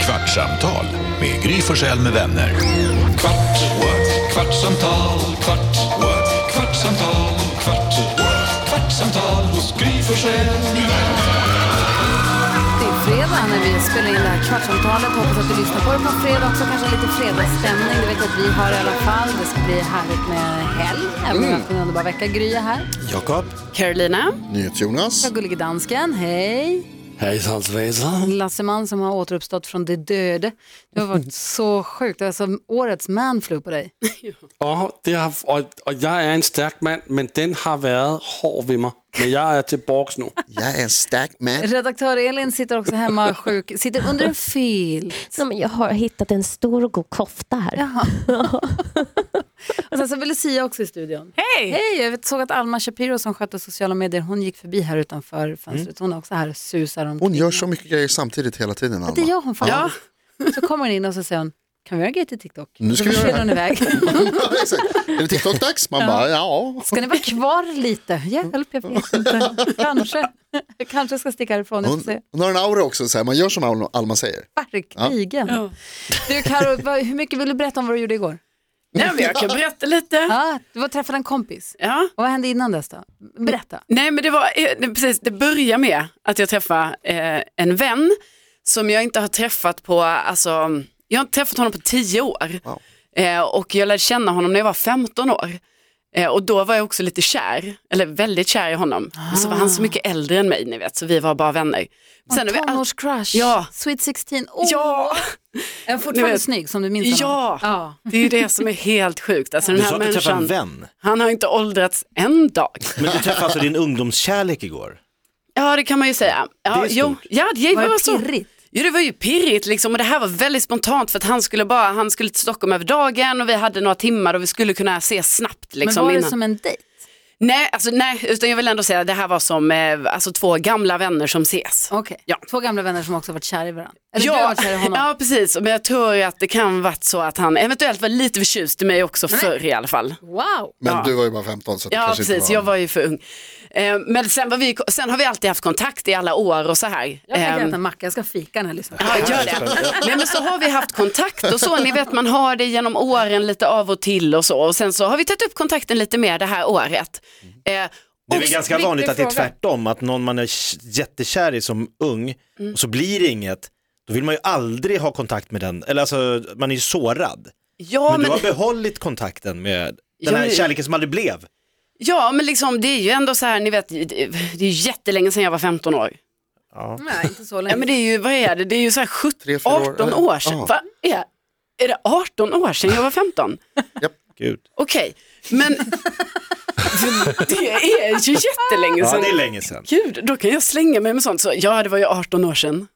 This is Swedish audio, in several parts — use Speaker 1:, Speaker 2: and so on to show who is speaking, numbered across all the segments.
Speaker 1: Kvartsamtal med Gry Forssell med vänner. Kvart, what? kvartsamtal, kvart, what? kvartsamtal, kvart, what? kvartsamtal hos Gry Forssell med vänner.
Speaker 2: Det är fredag när vi spelar in det här kvartsamtalet. Hoppas att du lyssnar på det på fredag också. Kanske lite fredagsstämning. Du vet att vi har i alla fall. Det ska bli härligt med helg. Även om vi har haft en underbar vecka. Gry är här.
Speaker 3: Jakob.
Speaker 2: Carolina.
Speaker 3: NyhetsJonas.
Speaker 2: Jag gullige dansken. Hej.
Speaker 3: Hejsan svejsan.
Speaker 2: Lasseman som har återuppstått från de döde. Det har varit så sjukt. Alltså årets manflu på dig.
Speaker 4: Og, det har, og, og jeg er en stærk mand, men den har været hård ved mig. Men jeg er til borgs nu.
Speaker 3: Jag är en stark man.
Speaker 2: Redaktör Elin sitter också hemma sjuk. Sitter under en fil.
Speaker 5: Nej, men jag har hittat en stor och god kofta här.
Speaker 2: Och sen så vill Lucia också i studion. Hej! Hej! Jag såg att Alma Shapiro som skötte sociala medier, hon gick förbi här utanför fönstret. Hon är också här och susar omkring.
Speaker 6: Hon gör så mycket grejer samtidigt hela tiden,
Speaker 2: Det
Speaker 6: Alma.
Speaker 2: gör hon faktiskt. Så kommer hon in och så säger hon, kan vi göra en grej till TikTok?
Speaker 6: Nu ska
Speaker 2: så
Speaker 6: vi göra
Speaker 2: försvinner
Speaker 6: det
Speaker 2: hon iväg.
Speaker 6: Exakt. Är det TikTok-dags? Man bara, ja.
Speaker 2: Ska ni vara kvar lite? Hjälp, jag vet inte. Kanske. Jag kanske ska sticka härifrån. Jag
Speaker 6: Hon,
Speaker 2: får se.
Speaker 6: hon har en aura också, så här, man gör som Alma- Alma säger.
Speaker 2: Verkligen. Du Karo, vad- hur mycket vill du berätta om vad du gjorde igår?
Speaker 7: Nej, men jag kan berätta lite.
Speaker 2: Ja, du var och träffade en kompis.
Speaker 7: Ja.
Speaker 2: Och vad hände innan dess då? Berätta.
Speaker 7: Nej, men det, var, eh, det- precis, det börjar med att jag träffar eh, en vän som jag inte har träffat på, alltså, jag har inte träffat honom på tio år. Eh, och jag lärde känna honom när jag var 15 år. Eh, och då var jag också lite kär, eller väldigt kär i honom. Och så var
Speaker 8: Ah.
Speaker 7: han så mycket äldre än mig, ni vet, så vi var bara vänner. Sen har vi all-
Speaker 2: Tonårscrush,
Speaker 7: Ja.
Speaker 2: Sweet 16. Oh,
Speaker 7: Ja,
Speaker 2: Är han fortfarande
Speaker 7: Ni vet-
Speaker 2: snygg som du minns honom?
Speaker 7: Ja.
Speaker 2: ja.
Speaker 7: det är ju det som är helt sjukt. Alltså, den
Speaker 8: Du
Speaker 7: här
Speaker 8: sa att du träffade en
Speaker 7: människan,
Speaker 8: vän,
Speaker 7: han har inte åldrats en dag.
Speaker 8: men du träffade alltså din ungdomskärlek igår.
Speaker 7: Ja, det kan man ju säga. Ja,
Speaker 8: Det är
Speaker 7: jo,
Speaker 8: stort.
Speaker 7: ja, det
Speaker 2: Vad
Speaker 7: var så.
Speaker 2: pirrigt.
Speaker 7: Jo, det var ju pirrigt liksom och det här var väldigt spontant för att han skulle bara, han skulle till Stockholm över dagen och vi hade några timmar och vi skulle kunna ses snabbt
Speaker 2: Men
Speaker 7: liksom
Speaker 2: var det
Speaker 7: innan.
Speaker 2: som en dejt?
Speaker 7: Nej, alltså nej, utan jag vill ändå säga att det här var som eh, alltså, två gamla vänner som ses.
Speaker 2: Okej,
Speaker 7: Ja.
Speaker 2: två gamla vänner som också varit kära i varandra. Eller du har varit kär i honom.
Speaker 7: ja, precis. Men jag tror ju att det kan varit så att han eventuellt var lite förtjust i mig också förr i alla fall.
Speaker 2: Wow!
Speaker 6: Men
Speaker 7: Ja.
Speaker 6: du var ju bara 15 så det
Speaker 7: Ja,
Speaker 6: kanske
Speaker 7: precis.
Speaker 6: inte
Speaker 7: Jag
Speaker 6: var...
Speaker 7: var ju för ung. Eh, men sen, var vi, sen har vi alltid haft kontakt i alla år och så här.
Speaker 2: Jag tänker
Speaker 7: Ehm,
Speaker 2: äta en macka, jag ska fika när jag lyssnar.
Speaker 7: Ja, gör det. Nej, men så har vi haft kontakt och så. Ni vet, man har det genom åren lite av och till och så. Och sen så har vi tagit upp kontakten lite mer det här året. Eh,
Speaker 8: Mm. Det är väl
Speaker 7: och-
Speaker 8: ganska vanligt att det är
Speaker 2: fråga.
Speaker 8: tvärtom, att någon man är k- jättekär i som ung
Speaker 7: Mm.
Speaker 8: och så blir det inget, då vill man ju aldrig ha kontakt med den, eller alltså man är ju sårad.
Speaker 7: Ja,
Speaker 8: men,
Speaker 7: men,
Speaker 8: du har behållit kontakten med
Speaker 7: Jo,
Speaker 8: den här
Speaker 7: jo.
Speaker 8: kärleken som aldrig blev.
Speaker 7: ja, men liksom, det är ju ändå så här, ni vet, det det är ju jättelänge sedan jag var 15 år.
Speaker 2: Nej, inte så länge.
Speaker 7: Ja, men det är ju, vad är det, det är ju så här 17,
Speaker 6: Tre, fyra år.
Speaker 7: 18 år sedan.
Speaker 6: Ja.
Speaker 7: Va? Är, är det 18 år sedan jag var 15?
Speaker 8: Gud.
Speaker 7: Okej, men det är ju jättelänge
Speaker 8: Ja,
Speaker 7: sedan.
Speaker 8: det är länge sedan.
Speaker 7: Gud, då kan jag slänga mig med sånt. Så, ja, det var ju 18 år sedan.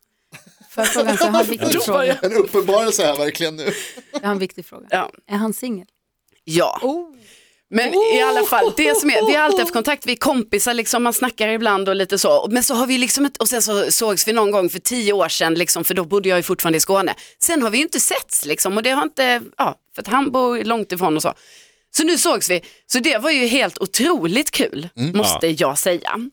Speaker 2: Får jag fråga en sak?
Speaker 7: Alltså,
Speaker 2: Jag har en viktig
Speaker 7: Då var
Speaker 2: fråga.
Speaker 7: jag-
Speaker 6: En uppenbarelse här verkligen nu.
Speaker 2: Jag har en viktig fråga.
Speaker 7: Ja.
Speaker 2: Är han singel?
Speaker 7: ja. Men i alla fall, det som är, vi har alltid haft kontakt, vi är kompisar, liksom, man snackar ibland och lite så. Men så har vi liksom, ett, och sen så sågs vi någon gång för tio år sedan, liksom, för då bodde jag ju fortfarande i Skåne. Sen har vi ju inte setts liksom, och det har inte, ja, för att han bor långt ifrån och så. Så nu sågs vi, så det var ju helt otroligt kul, måste jag säga.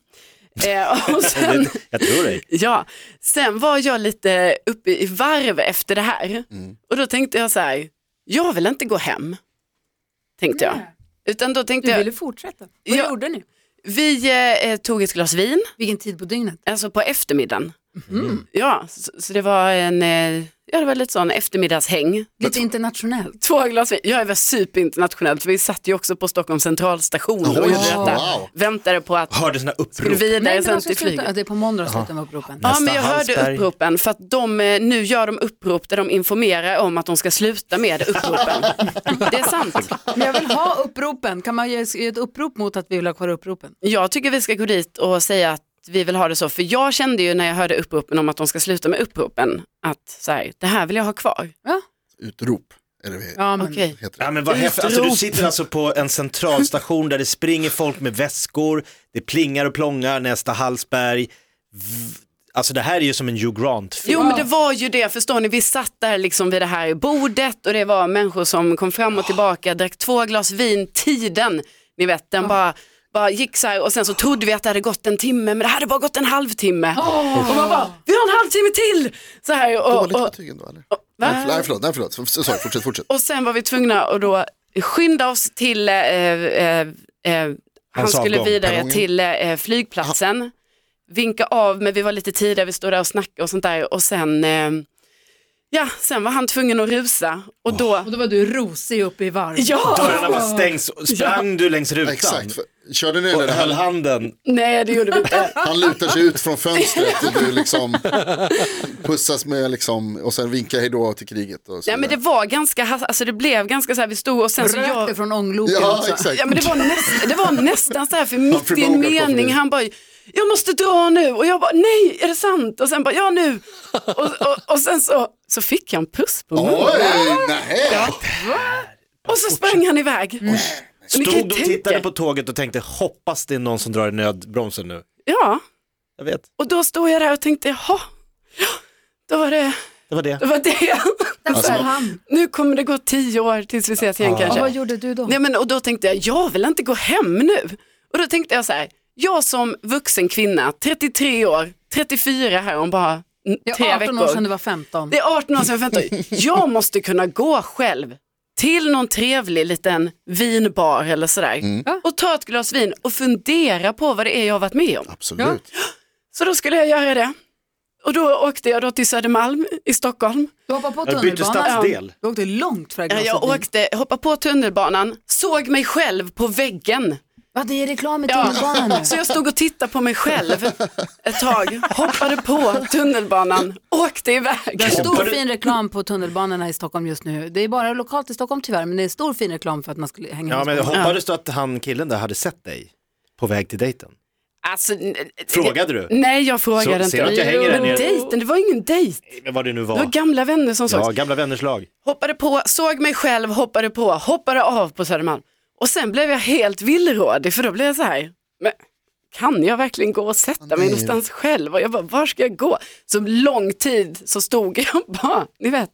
Speaker 7: Eh, och sen,
Speaker 8: Jag tror dig.
Speaker 7: Ja, sen var jag lite uppe i varv efter det här
Speaker 6: Mm.
Speaker 7: och då tänkte jag så här, jag vill inte gå hem, tänkte jag. Utan då tänkte jag,
Speaker 2: fortsätta.
Speaker 7: Vad
Speaker 2: gjorde ni?
Speaker 7: vi eh, tog ett glas vin,
Speaker 2: Vilken tid på dygnet?
Speaker 7: alltså på eftermiddagen.
Speaker 6: Mhm.
Speaker 7: Mm. Ja, så, så det var en, eh, ja det var lite sån eftermiddagshäng.
Speaker 2: Lite internationellt.
Speaker 7: Två glas vin, jag var superinternationell för vi satt ju också på Stockholms centralstation och
Speaker 6: Oj,
Speaker 7: gjorde detta.
Speaker 6: wow.
Speaker 7: Väntade på att
Speaker 8: Hörde sådana upprop.
Speaker 7: skulle vidare
Speaker 2: men
Speaker 7: sen
Speaker 2: de ska
Speaker 7: till
Speaker 2: sluta-
Speaker 7: flyget.
Speaker 2: Ja, Det är på måndag de slutar med uppropen.
Speaker 7: Ja, men jag
Speaker 8: Hallsberg.
Speaker 7: hörde uppropen för att de, eh, nu gör de upprop där de informerar om att de ska sluta med uppropen. det är sant.
Speaker 2: Men jag vill ha uppropen. Kan man göra göra ett upprop mot att vi vill ha kvar uppropen?
Speaker 7: Jag tycker vi ska gå dit och säga att vi vill ha det så, för jag kände ju när jag hörde uppropen om att de ska sluta med uppropen att så här, det här vill jag ha kvar.
Speaker 6: Utrop. Är det
Speaker 2: Ja, men
Speaker 7: Okej.
Speaker 6: heter det.
Speaker 8: Ja, men vad häftigt. Alltså, du
Speaker 7: Utrop.
Speaker 8: sitter alltså på en centralstation där det springer folk med väskor, det plingar och plångar, nästa Hallsberg. V- Alltså det här är ju som en Hugh Grant-film.
Speaker 7: Jo men det var ju det, förstår ni, vi satt där liksom vid det här bordet och det var människor som kom fram och tillbaka, drack två glas vin, tiden, ni vet den bara, bara gick så här och sen så trodde vi att det hade gått en timme men det hade bara gått en halvtimme. Och man bara, vi har och en halv timme till! Så här, och,
Speaker 6: Dåligt
Speaker 7: och,
Speaker 6: betyg ändå eller?
Speaker 7: va?
Speaker 6: Nej, förl- Nej förlåt, nej förlåt, F- sorry, fortsätt, fortsätt.
Speaker 7: och sen var vi tvungna att då skynda oss till, eh, eh, eh, han
Speaker 8: Hans
Speaker 7: skulle
Speaker 8: avgång,
Speaker 7: vidare
Speaker 6: perrongen.
Speaker 7: till eh, flygplatsen, vinka av, men vi var lite tidigare, vi stod där och snackade och sånt där och sen, eh, ja, sen var han tvungen att rusa och då,
Speaker 9: Och då var du rosig uppe i varv.
Speaker 7: ja,
Speaker 8: Dörrarna bara stängs, och sprang du längs rutan?
Speaker 6: Exakt, för- körde ni
Speaker 8: Och
Speaker 6: det
Speaker 8: höll
Speaker 6: där?
Speaker 8: handen.
Speaker 7: nej det gjorde vi inte.
Speaker 6: Han lutar sig ut från fönstret och du liksom pussas med liksom och sen vinkar hej då till kriget. Och så
Speaker 7: Nej men det
Speaker 6: vidare.
Speaker 7: var ganska, hast- alltså det blev ganska så här, vi stod och sen så
Speaker 2: Rök
Speaker 7: jag,
Speaker 2: det Alltså, från ångloken
Speaker 6: Ja,
Speaker 2: också.
Speaker 6: exakt.
Speaker 7: Ja, men det, var näst, det var nästan så här, för mitt i en
Speaker 6: förvånad på
Speaker 7: mening,
Speaker 6: mig.
Speaker 7: han bara, jag måste dra nu, och jag bara, nej, är det sant? Och sen bara, ja nu. Och, och, och sen så, så fick jag en puss på munnen.
Speaker 6: Oj, nej.
Speaker 7: Och så sprang han iväg. Så ni kan ju
Speaker 8: Mm. Stod och
Speaker 7: tänka-
Speaker 8: tittade på tåget och tänkte hoppas det är någon som drar i nödbromsen nu.
Speaker 7: Ja,
Speaker 8: Jag vet,
Speaker 7: och då stod jag där och tänkte, jaha, ja, då var det,
Speaker 8: det var det.
Speaker 7: då var det.
Speaker 2: Alltså, han.
Speaker 7: Nu kommer det gå tio år tills vi ses igen
Speaker 2: Och
Speaker 7: kanske.
Speaker 2: vad gjorde du då?
Speaker 7: Nej, men, och då tänkte jag, jag vill inte gå hem nu. Och då tänkte jag så här, jag som vuxen kvinna, 33 år, 34 här om bara mm,
Speaker 2: Jag
Speaker 7: tre
Speaker 2: är 18 år
Speaker 7: veckor.
Speaker 2: sedan du var 15.
Speaker 7: Det är 18 år sedan jag var 15. Jag måste kunna gå själv till någon trevlig liten vinbar eller sådär
Speaker 2: Mm.
Speaker 7: och ta ett glas vin och fundera på vad det är jag har varit med om.
Speaker 6: Absolut.
Speaker 7: Så då skulle jag göra det. Och då åkte jag då till Södermalm i Stockholm.
Speaker 2: Du hoppade på
Speaker 8: Jag bytte
Speaker 2: tunnelbanan.
Speaker 8: stadsdel.
Speaker 2: Du åkte långt för att
Speaker 7: Ja, Jag åkte, hoppade på tunnelbanan, såg mig själv på väggen
Speaker 2: Va, det är reklam i
Speaker 7: Ja.
Speaker 2: tunnelbanan nu.
Speaker 7: Så jag stod och tittade på mig själv ett tag, hoppade på tunnelbanan, åkte iväg.
Speaker 2: Det är stor
Speaker 8: Hoppade-
Speaker 2: fin reklam på tunnelbanorna i Stockholm just nu. Det är bara lokalt i Stockholm tyvärr, men det är stor fin reklam för att man skulle hänga
Speaker 8: Ja,
Speaker 2: ihop.
Speaker 8: men hoppades du att han killen där hade sett dig på väg till dejten?
Speaker 7: Alltså, n-
Speaker 8: Frågade du?
Speaker 7: Nej, jag frågade
Speaker 8: Så-
Speaker 7: inte.
Speaker 8: ser du att jag hänger där
Speaker 7: men
Speaker 8: nere?
Speaker 7: dejten, det var ingen dejt.
Speaker 8: Men vad det nu
Speaker 7: Det var
Speaker 8: var.
Speaker 7: gamla vänner som sågs.
Speaker 8: Ja, gamla vänners lag.
Speaker 7: Hoppade på, såg mig själv, hoppade på, hoppade av på Södermalm. Och sen blev jag helt villrådig för då blev jag så här, men kan jag verkligen gå och sätta mig någonstans själv? Och jag bara, var ska jag gå? Så lång tid så stod jag bara, ni vet,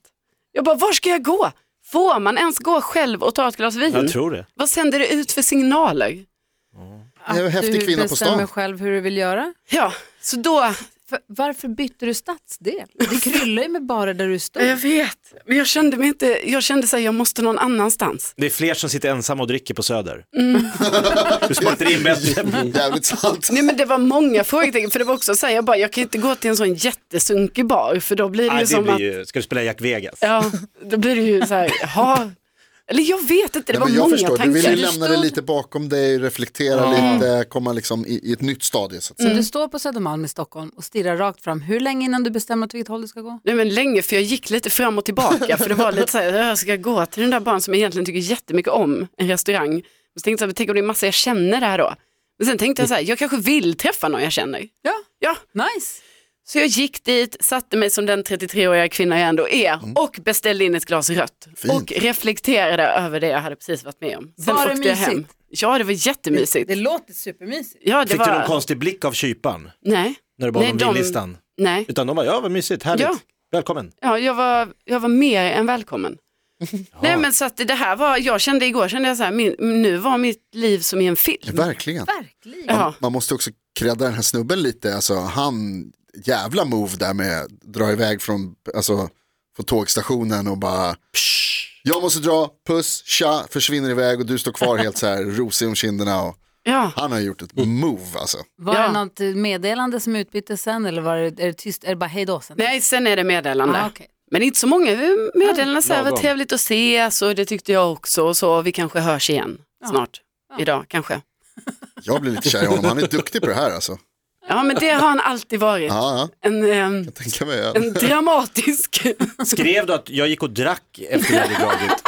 Speaker 7: jag bara, var ska jag gå? Får man ens gå själv och ta ett glas vin?
Speaker 8: Jag tror det.
Speaker 7: Vad sänder det ut för signaler?
Speaker 6: Det är en häftig kvinna på
Speaker 2: Du bestämmer
Speaker 6: stan.
Speaker 2: själv hur du vill göra.
Speaker 7: Ja, så då...
Speaker 2: För, varför bytte du stadsdel? Det kryllar ju med barer där du stod.
Speaker 7: Jag vet, men jag kände mig inte, jag kände så här, jag måste någon annanstans.
Speaker 8: Det är fler som sitter ensamma och dricker på Söder.
Speaker 7: Mm.
Speaker 8: du smälter in bättre.
Speaker 6: Jävligt sant.
Speaker 7: Nej men det var många frågetecken, för det var också så här, jag bara, jag kan ju inte gå till en sån jättesunkig bar, för då blir det
Speaker 8: Nej,
Speaker 7: ju
Speaker 8: det
Speaker 7: som
Speaker 8: blir
Speaker 7: att,
Speaker 8: ju, ska du spela Jack Vegas?
Speaker 7: ja, då blir det ju så här, jaha, eller jag vet inte, det
Speaker 6: Nej, men
Speaker 7: var
Speaker 6: jag
Speaker 7: många
Speaker 6: förstår,
Speaker 7: tankar.
Speaker 6: du ville
Speaker 7: Du
Speaker 6: lämna det
Speaker 7: stod-
Speaker 6: lite bakom dig, reflektera lite, komma liksom i, i ett nytt stadie. Så att säga.
Speaker 2: Du står på Södermalm i Stockholm och stirrar rakt fram. Hur länge innan du bestämmer åt vilket håll du ska gå?
Speaker 7: Nej men länge, för jag gick lite fram och tillbaka, för det var lite så här, jag ska gå till den där barn som jag egentligen tycker jättemycket om, en restaurang. Men så tänkte jag, men tänk om det är massa jag känner där då. Men sen tänkte jag så här, jag kanske vill träffa någon jag känner.
Speaker 2: Ja,
Speaker 7: Ja,
Speaker 2: nice.
Speaker 7: Så jag gick dit, satte mig som den 33-åriga kvinna jag ändå är
Speaker 8: Mm.
Speaker 7: och beställde in ett glas rött. Och reflekterade över det jag hade precis varit med om.
Speaker 2: Var det
Speaker 7: åkte jag hem.
Speaker 2: mysigt?
Speaker 7: Ja, det var jättemysigt.
Speaker 2: låter supermysigt.
Speaker 7: Ja, det
Speaker 8: Fick
Speaker 7: var...
Speaker 8: du någon konstig blick av kyparen
Speaker 7: Nej.
Speaker 8: när du bad
Speaker 7: Nej,
Speaker 8: om
Speaker 7: de-
Speaker 8: vinlistan?
Speaker 7: Nej,
Speaker 8: Utan de bara, ja vad mysigt, härligt,
Speaker 7: Ja.
Speaker 8: välkommen.
Speaker 7: ja, jag, var, jag var mer än välkommen. Nej men så att det här var, jag kände igår, kände jag så här, min, nu var mitt liv som i en film.
Speaker 6: Verkligen.
Speaker 7: Ja.
Speaker 6: Man måste också credda den här snubben lite, alltså han, jävla move där med att dra iväg från, alltså, från tågstationen och bara, jag måste dra, puss, tja, försvinner iväg och du står kvar helt så här rosig om kinderna och
Speaker 7: Ja.
Speaker 6: han har gjort ett
Speaker 7: Mm.
Speaker 6: move alltså.
Speaker 2: Var
Speaker 7: Ja.
Speaker 2: det något meddelande som utbyttes sen eller var det, är det tyst? Är det bara hej då sen?
Speaker 7: Nej, sen är det meddelande.
Speaker 2: Ah, okej.
Speaker 7: Men inte så många meddelanden, så här,
Speaker 8: Lagom.
Speaker 7: vad trevligt att ses och det tyckte jag också och så, vi kanske hörs igen snart, idag kanske.
Speaker 6: Jag blir lite kär i honom, han är duktig på det här alltså.
Speaker 7: Ja men det har han alltid varit.
Speaker 6: Ja, ja,
Speaker 7: En, ehm,
Speaker 6: tänka mig. ja.
Speaker 7: en dramatisk,
Speaker 8: Skrev du att jag gick och drack efter jag hade dragit?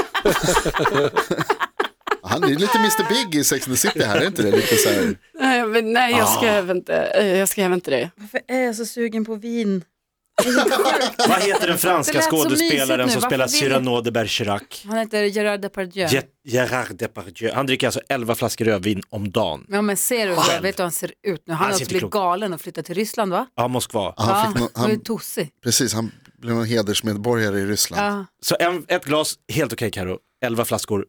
Speaker 6: Han är ju lite Mr Big i Sex and the City här, är inte det? Lite så här,
Speaker 7: nej, men nej jag skrev inte, eh, jag skrev inte det.
Speaker 2: Varför är jag så sugen på vin?
Speaker 8: Vad heter den
Speaker 2: Det
Speaker 8: franska
Speaker 2: lät så mysigt
Speaker 8: skådespelaren
Speaker 2: nu,
Speaker 8: som
Speaker 2: varför
Speaker 8: spelar
Speaker 2: vill-
Speaker 8: Cyrano de Bergerac?
Speaker 2: Han heter Gerard Depardieu.
Speaker 8: Ge- Gerard Depardieu. Han dricker alltså 11 flaskor rödvin om dagen.
Speaker 2: Ja men ser du,
Speaker 8: Själv.
Speaker 2: jag vet du hur han ser ut nu? Han
Speaker 8: Han
Speaker 2: har
Speaker 8: ser
Speaker 2: också
Speaker 8: inte
Speaker 2: blivit
Speaker 8: klok.
Speaker 2: galen och flyttat till Ryssland va?
Speaker 8: Ja, Moskva.
Speaker 6: han
Speaker 2: Ja,
Speaker 6: fick nå-
Speaker 2: han är
Speaker 6: han,
Speaker 2: tosig.
Speaker 6: precis, han blev någon hedersmedborgare i Ryssland. Alltså,
Speaker 2: Ja.
Speaker 8: Så en, ett glas, helt okej Karo. 11 flaskor,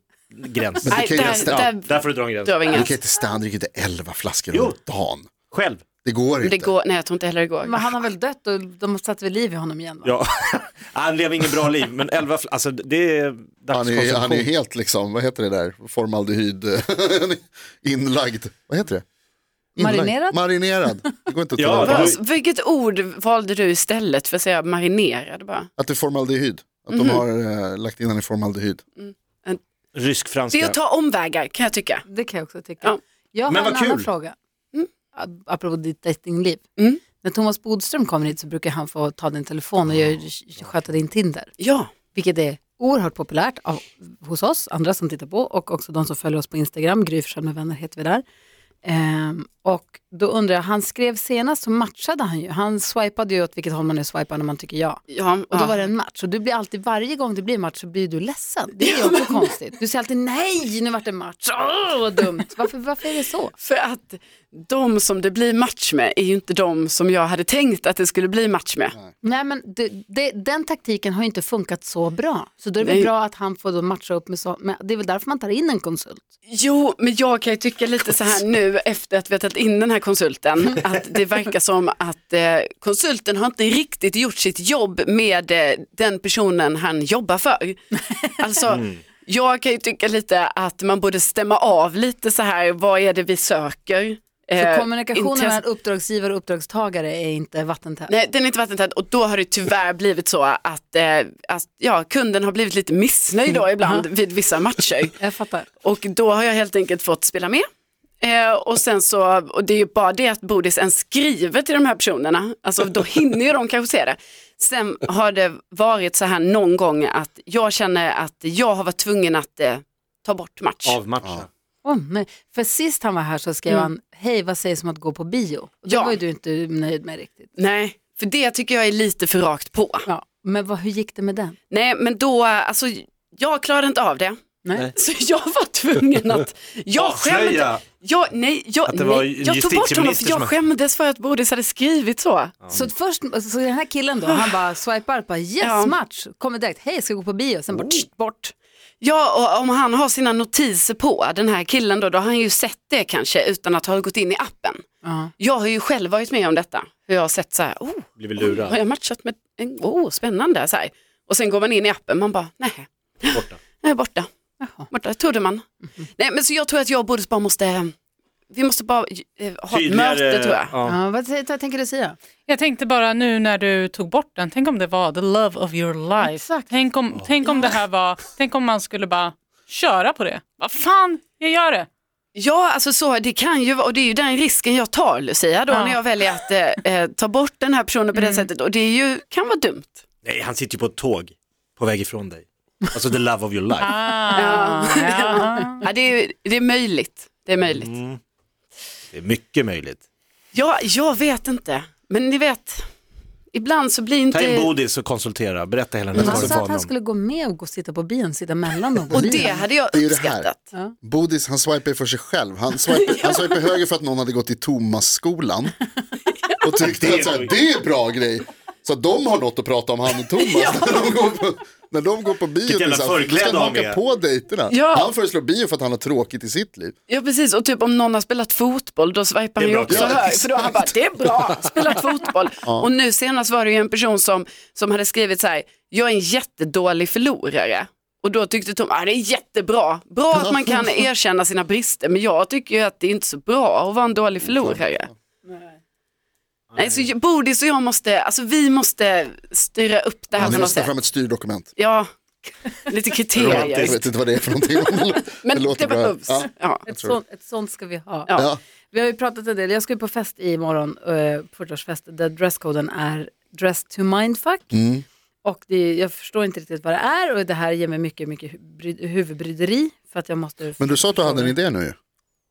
Speaker 8: gräns.
Speaker 6: Men det
Speaker 7: Nej,
Speaker 6: kan ju
Speaker 7: där,
Speaker 6: nästan-
Speaker 8: Ja,
Speaker 7: där,
Speaker 8: där får du dra en gräns.
Speaker 7: drar vi
Speaker 6: Du
Speaker 7: ingen.
Speaker 6: kan inte stanna, du kan inte elva flaskor
Speaker 8: Jo.
Speaker 6: om dagen.
Speaker 8: Själv.
Speaker 6: Det går inte.
Speaker 7: Det går, nej jag tror inte heller det går.
Speaker 2: Men han har väl dött och de satte väl liv i honom igen va?
Speaker 8: Ja. Han lever inget bra liv, men 11, fl- alltså det är
Speaker 6: Han är,
Speaker 8: dagskonsumtion.
Speaker 6: han är helt liksom, vad heter det där, formaldehyd eh, inlagd. Vad heter det? Inlagd.
Speaker 2: Marinerad?
Speaker 6: Marinerad. Det går inte att ta
Speaker 8: Ja,
Speaker 6: reda på.
Speaker 8: det-
Speaker 7: Vad- Vilket ord valde du istället för att säga marinerad bara?
Speaker 6: Att det är formaldehyd. Att
Speaker 7: Mhm.
Speaker 6: de har eh, lagt in den i formaldehyd.
Speaker 8: Rysk-franska.
Speaker 7: Det är att ta omvägar kan jag tycka.
Speaker 2: Det kan jag också tycka.
Speaker 7: Ja.
Speaker 2: Jag har
Speaker 8: Men
Speaker 2: en
Speaker 8: vad
Speaker 2: annan
Speaker 8: kul.
Speaker 2: fråga. Mm. Apropå ditt dejtingliv.
Speaker 7: Mm.
Speaker 2: När Thomas Bodström kommer hit så brukar han få ta din telefon och gör- sköta din Tinder.
Speaker 7: Ja,
Speaker 2: vilket är oerhört populärt av, hos oss, andra som tittar på och också de som följer oss på Instagram, Gry Forssell med vänner heter vi där. Ehm, och då undrar jag, han skrev senast så matchade han ju, han swipade ju åt vilket håll man nu swipar när man tycker ja.
Speaker 7: ja,
Speaker 2: Och då
Speaker 7: ja.
Speaker 2: var det en match och du blir alltid, varje gång det blir match så blir du ledsen. Det är ju också konstigt. Du säger alltid nej, nu vart det match, åh vad dumt. Varför, varför är det så?
Speaker 7: För att de som det blir match med är ju inte de som jag hade tänkt att det skulle bli match med.
Speaker 2: Nej men det, det, den taktiken har ju inte funkat så bra. Så då är det väl
Speaker 7: Nej.
Speaker 2: bra att han får då matcha upp med så, men det är väl därför man tar in en konsult.
Speaker 7: Jo, men jag kan ju tycka lite så här nu efter att vi har tagit in den här konsulten, att det verkar som att eh, konsulten har inte riktigt gjort sitt jobb med eh, den personen han jobbar för. Alltså, jag kan ju tycka lite att man borde stämma av lite så här, vad är det vi söker?
Speaker 2: Så
Speaker 7: Eh,
Speaker 2: kommunikationen
Speaker 7: intresse-
Speaker 2: mellan uppdragsgivare och uppdragstagare är inte vattentät.
Speaker 7: Nej, den är inte vattentät och då har det tyvärr blivit så att, eh, att ja, kunden har blivit lite missnöjd då ibland vid vissa matcher.
Speaker 2: Jag fattar.
Speaker 7: Och då har jag helt enkelt fått spela med. Eh, och sen så, och det är ju bara det att Bodis ens skriver till de här personerna, alltså då hinner ju de kanske se det. Sen har det varit så här någon gång att jag känner att jag har varit tvungen att eh, ta bort match.
Speaker 8: Av matchen.
Speaker 2: Åh, nej. För sist han var här så skrev han, hej vad sägs om att gå på bio? Och det
Speaker 7: Mm. Ja.
Speaker 2: var ju du inte nöjd med riktigt.
Speaker 7: Nej, för det tycker jag är lite för rakt på.
Speaker 2: Ja. Men vad, hur gick det med den?
Speaker 7: Nej, men då, alltså jag klarade inte av det.
Speaker 2: Nej.
Speaker 7: Så jag var tvungen att, jag
Speaker 8: Avslöja.
Speaker 7: skämde, jag, nej, jag,
Speaker 8: Att det var
Speaker 7: nej, jag tog bort honom
Speaker 8: justitieminister
Speaker 7: för
Speaker 8: som
Speaker 7: jag
Speaker 8: hade-
Speaker 7: skämdes för att Bodis hade skrivit så.
Speaker 2: Så först, så den här killen då, han bara swipar, bara yes
Speaker 7: Ja.
Speaker 2: match, kommer direkt, hej ska jag gå på bio, sen bara tsch, bort.
Speaker 7: Ja, och om han har sina notiser på, den här killen då, då har han ju sett det kanske utan att ha gått in i appen.
Speaker 2: Ja.
Speaker 7: Jag har ju själv varit med om detta, hur jag har sett så här, oh,
Speaker 8: Blivit
Speaker 7: har
Speaker 8: lurad.
Speaker 7: jag matchat med, en, oh, spännande, så här. Och sen går man in i appen, man bara, nej,
Speaker 8: Borta.
Speaker 7: nej, borta, borta, trodde man.
Speaker 2: Mhm.
Speaker 7: Nej, men så jag tror att jag och Bodis bara måste, vi måste bara eh, ha ett
Speaker 8: Tydligare,
Speaker 7: möte tror jag.
Speaker 8: Ja.
Speaker 2: Ja, vad, säger- vad tänker du säga?
Speaker 10: Jag tänkte bara nu när du tog bort den, tänk om det var the love of your life. Tänk om, tänk om det här var, tänk om man skulle bara köra på det. Vad fan, jag gör det.
Speaker 7: Ja, alltså så, det kan ju vara, och det är ju den risken jag tar Lucia då
Speaker 10: Ja.
Speaker 7: när jag väljer att eh, eh, ta bort den här personen på det sättet och det är ju, kan vara dumt.
Speaker 8: Nej, han sitter ju på ett tåg på väg ifrån dig. Alltså the love of your life.
Speaker 10: Ah,
Speaker 7: Ja.
Speaker 10: ja.
Speaker 7: Ja, det, är, det är möjligt. Det är möjligt.
Speaker 8: Mm. Det är mycket möjligt.
Speaker 7: Ja, jag vet inte. Men ni vet, ibland så blir
Speaker 8: Ta in
Speaker 7: inte...
Speaker 8: Bodis och konsultera, berätta hela den här
Speaker 2: Han
Speaker 8: storyn
Speaker 2: sa
Speaker 8: för
Speaker 2: att han
Speaker 8: honom.
Speaker 2: skulle gå med och gå och sitta på bion, sitta mellan dem på
Speaker 7: Och
Speaker 2: bion.
Speaker 7: det hade jag
Speaker 6: Det är ju det här.
Speaker 7: uppskattat.
Speaker 6: Bodis, han swipar ju för sig själv. Han swipar, han swipar höger för att någon hade gått i Thomas-skolan. Och tyckte att så här, det är en bra grej. Så att de har något att prata om, han och Thomas. när, de går på, när de går på bio
Speaker 8: Vilket jävla
Speaker 6: tillsammans,
Speaker 8: förkläde
Speaker 6: ska de
Speaker 8: han
Speaker 6: haka
Speaker 8: är.
Speaker 6: på dejterna.
Speaker 7: Ja.
Speaker 6: Han föreslår bio för att han har tråkigt i sitt liv.
Speaker 7: Ja, precis. Och typ om någon har spelat fotboll, då swipar
Speaker 8: Det
Speaker 7: han
Speaker 8: är
Speaker 7: ju
Speaker 8: bra.
Speaker 7: också
Speaker 8: Ja,
Speaker 7: höger. För då har han bara, det är bra, spelat fotboll. Och nu senast var det ju en person som, som hade skrivit så här, jag är en jättedålig förlorare. Och då tyckte Tom, ah, det är jättebra, bra att man kan erkänna sina brister, men jag tycker ju att det är inte så bra att vara en dålig förlorare. Nej, så jag- Bodis och jag måste, alltså vi måste styra upp det här
Speaker 6: Han
Speaker 7: på något
Speaker 6: måste ta
Speaker 7: sätt.
Speaker 6: fram ett styrdokument.
Speaker 7: Ja, lite
Speaker 6: Jag
Speaker 7: kriterier.
Speaker 6: vet inte vad det är för någonting. det
Speaker 7: Men det,
Speaker 6: låter bra.
Speaker 7: behövs.
Speaker 6: Ja.
Speaker 7: Ja.
Speaker 2: Ett, sånt, ett sånt ska vi ha.
Speaker 7: Ja.
Speaker 6: Ja.
Speaker 2: Vi har ju pratat en del, jag ska ju på fest imorgon, eh, 40-årsfest, där dresskoden är dress to mindfuck.
Speaker 6: Mm.
Speaker 2: Och det, jag förstår inte riktigt vad det är och det här ger mig mycket, mycket hu- bry- huvudbryderi för att jag måste...
Speaker 6: Men du sa att du hade en idé nu ju.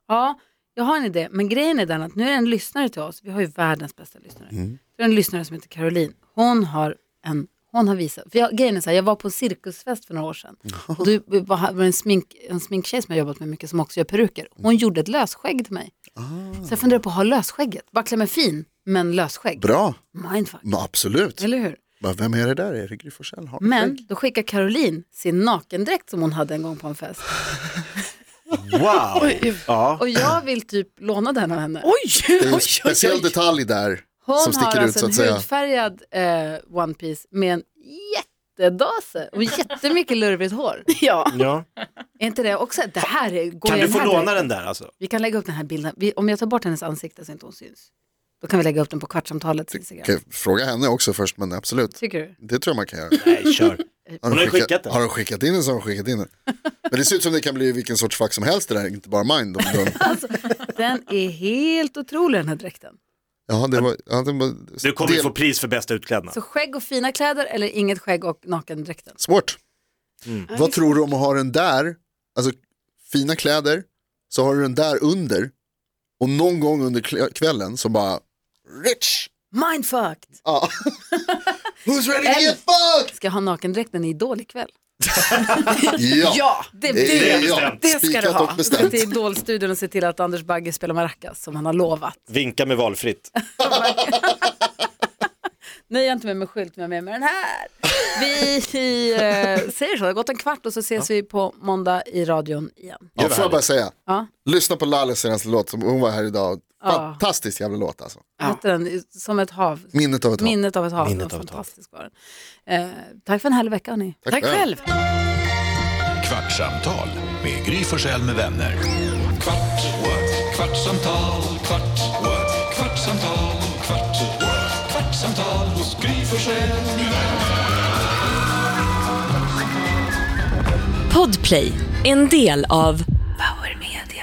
Speaker 2: Ja, jag har en idé, men grejen är den att nu är det en lyssnare till oss, vi har ju världens bästa lyssnare.
Speaker 6: Mm.
Speaker 2: Det är en lyssnare som heter Caroline, hon har en hon har visat, för jag, grejen är så här, jag var på en cirkusfest för några år sedan. Och du var här- var en, smink, en sminktjej som jag jobbat med mycket som också gör peruker. Hon gjorde ett lösskägg till mig.
Speaker 6: Ah.
Speaker 2: Så jag funderar på att ha lösskägget. Bara klä mig fin, men lösskägg.
Speaker 6: Bra,
Speaker 2: Mindfuck.
Speaker 6: Men absolut.
Speaker 2: Eller hur?
Speaker 6: Bara, Vem är det där? Är det Gry Forssell? Har-
Speaker 2: Men då skickar Caroline sin nakendräkt som hon hade en gång på en fest.
Speaker 8: Wow! ja.
Speaker 2: Och jag vill typ låna den av henne.
Speaker 7: Oj!
Speaker 6: Det är en speciell detalj där
Speaker 2: Hon
Speaker 6: som
Speaker 2: har
Speaker 6: sticker ut
Speaker 2: alltså
Speaker 6: så att
Speaker 2: en
Speaker 6: säga.
Speaker 2: hudfärgad eh, One Piece med en jättedase och jättemycket lurvigt hår.
Speaker 7: ja.
Speaker 8: ja.
Speaker 2: Är inte det också, det här är... går
Speaker 8: Kan
Speaker 2: jag
Speaker 8: du få
Speaker 2: här
Speaker 8: låna
Speaker 2: direkt?
Speaker 8: den där alltså?
Speaker 2: Vi kan lägga upp den här bilden. Vi, om jag tar bort hennes ansikte så inte hon syns. Då kan vi lägga upp den på Kvartsamtalets Instagram.
Speaker 6: Okej, fråga henne också först, men absolut.
Speaker 2: Tycker du?
Speaker 6: Det tror jag man kan göra.
Speaker 8: Nej, kör. Hon har ju
Speaker 6: skickat-
Speaker 8: skickat den.
Speaker 6: Har de skickat in den så har de skickat in den. Men det ser ut som det kan bli vilken sorts fack som helst det där, inte bara mine. De, de,
Speaker 2: Den är helt otrolig den här dräkten.
Speaker 6: ja, det var, ja, det var,
Speaker 8: Du kommer
Speaker 6: del-
Speaker 8: få pris för bästa utklädnad.
Speaker 2: Så skägg och fina kläder eller inget skägg och nakendräkten.
Speaker 6: Svårt.
Speaker 8: Mm.
Speaker 6: Vad tror du om att ha den där, alltså fina kläder, så har du den där under och någon gång under kl- kvällen så bara rich.
Speaker 2: Mindfucked!
Speaker 6: Ja. Who's ready to get fucked?
Speaker 2: Ska jag ha nakendräkten i Idol ikväll?
Speaker 6: Ja,
Speaker 7: Ja,
Speaker 2: Det,
Speaker 6: det är jag.
Speaker 8: bestämt.
Speaker 2: det ska du
Speaker 6: Spikat
Speaker 2: ha.
Speaker 6: och bestämt.
Speaker 2: Till Idolstudion och se till att Anders Bagge spelar maracas som han har lovat.
Speaker 8: Vinka med valfritt.
Speaker 2: Nej, jag är inte med med skylt, men jag är med med den här. Vi eh, säger så, det har gått en kvart och så ses vi på måndag i radion igen.
Speaker 6: Ja, får jag bara säga,
Speaker 2: Ja.
Speaker 6: lyssna på Lalles senaste låt, som hon var här idag. Fantastisk jävla låt alltså.
Speaker 2: Hette den Som ett hav?
Speaker 6: Minnet av ett hav.
Speaker 2: Minnet av ett hav.
Speaker 8: Minnet
Speaker 2: Den
Speaker 8: av ett hav.
Speaker 2: fantastisk var den. Eh, tack för en härlig vecka, hörni.
Speaker 7: Tack själv.
Speaker 1: Kvartsamtal med Gry Forssell med vänner. Kvart, what? kvartsamtal, kvart, what? kvartsamtal, kvart, what? kvartsamtal hos Gry Forssell med vänner.
Speaker 11: Podplay, en del av Power Media.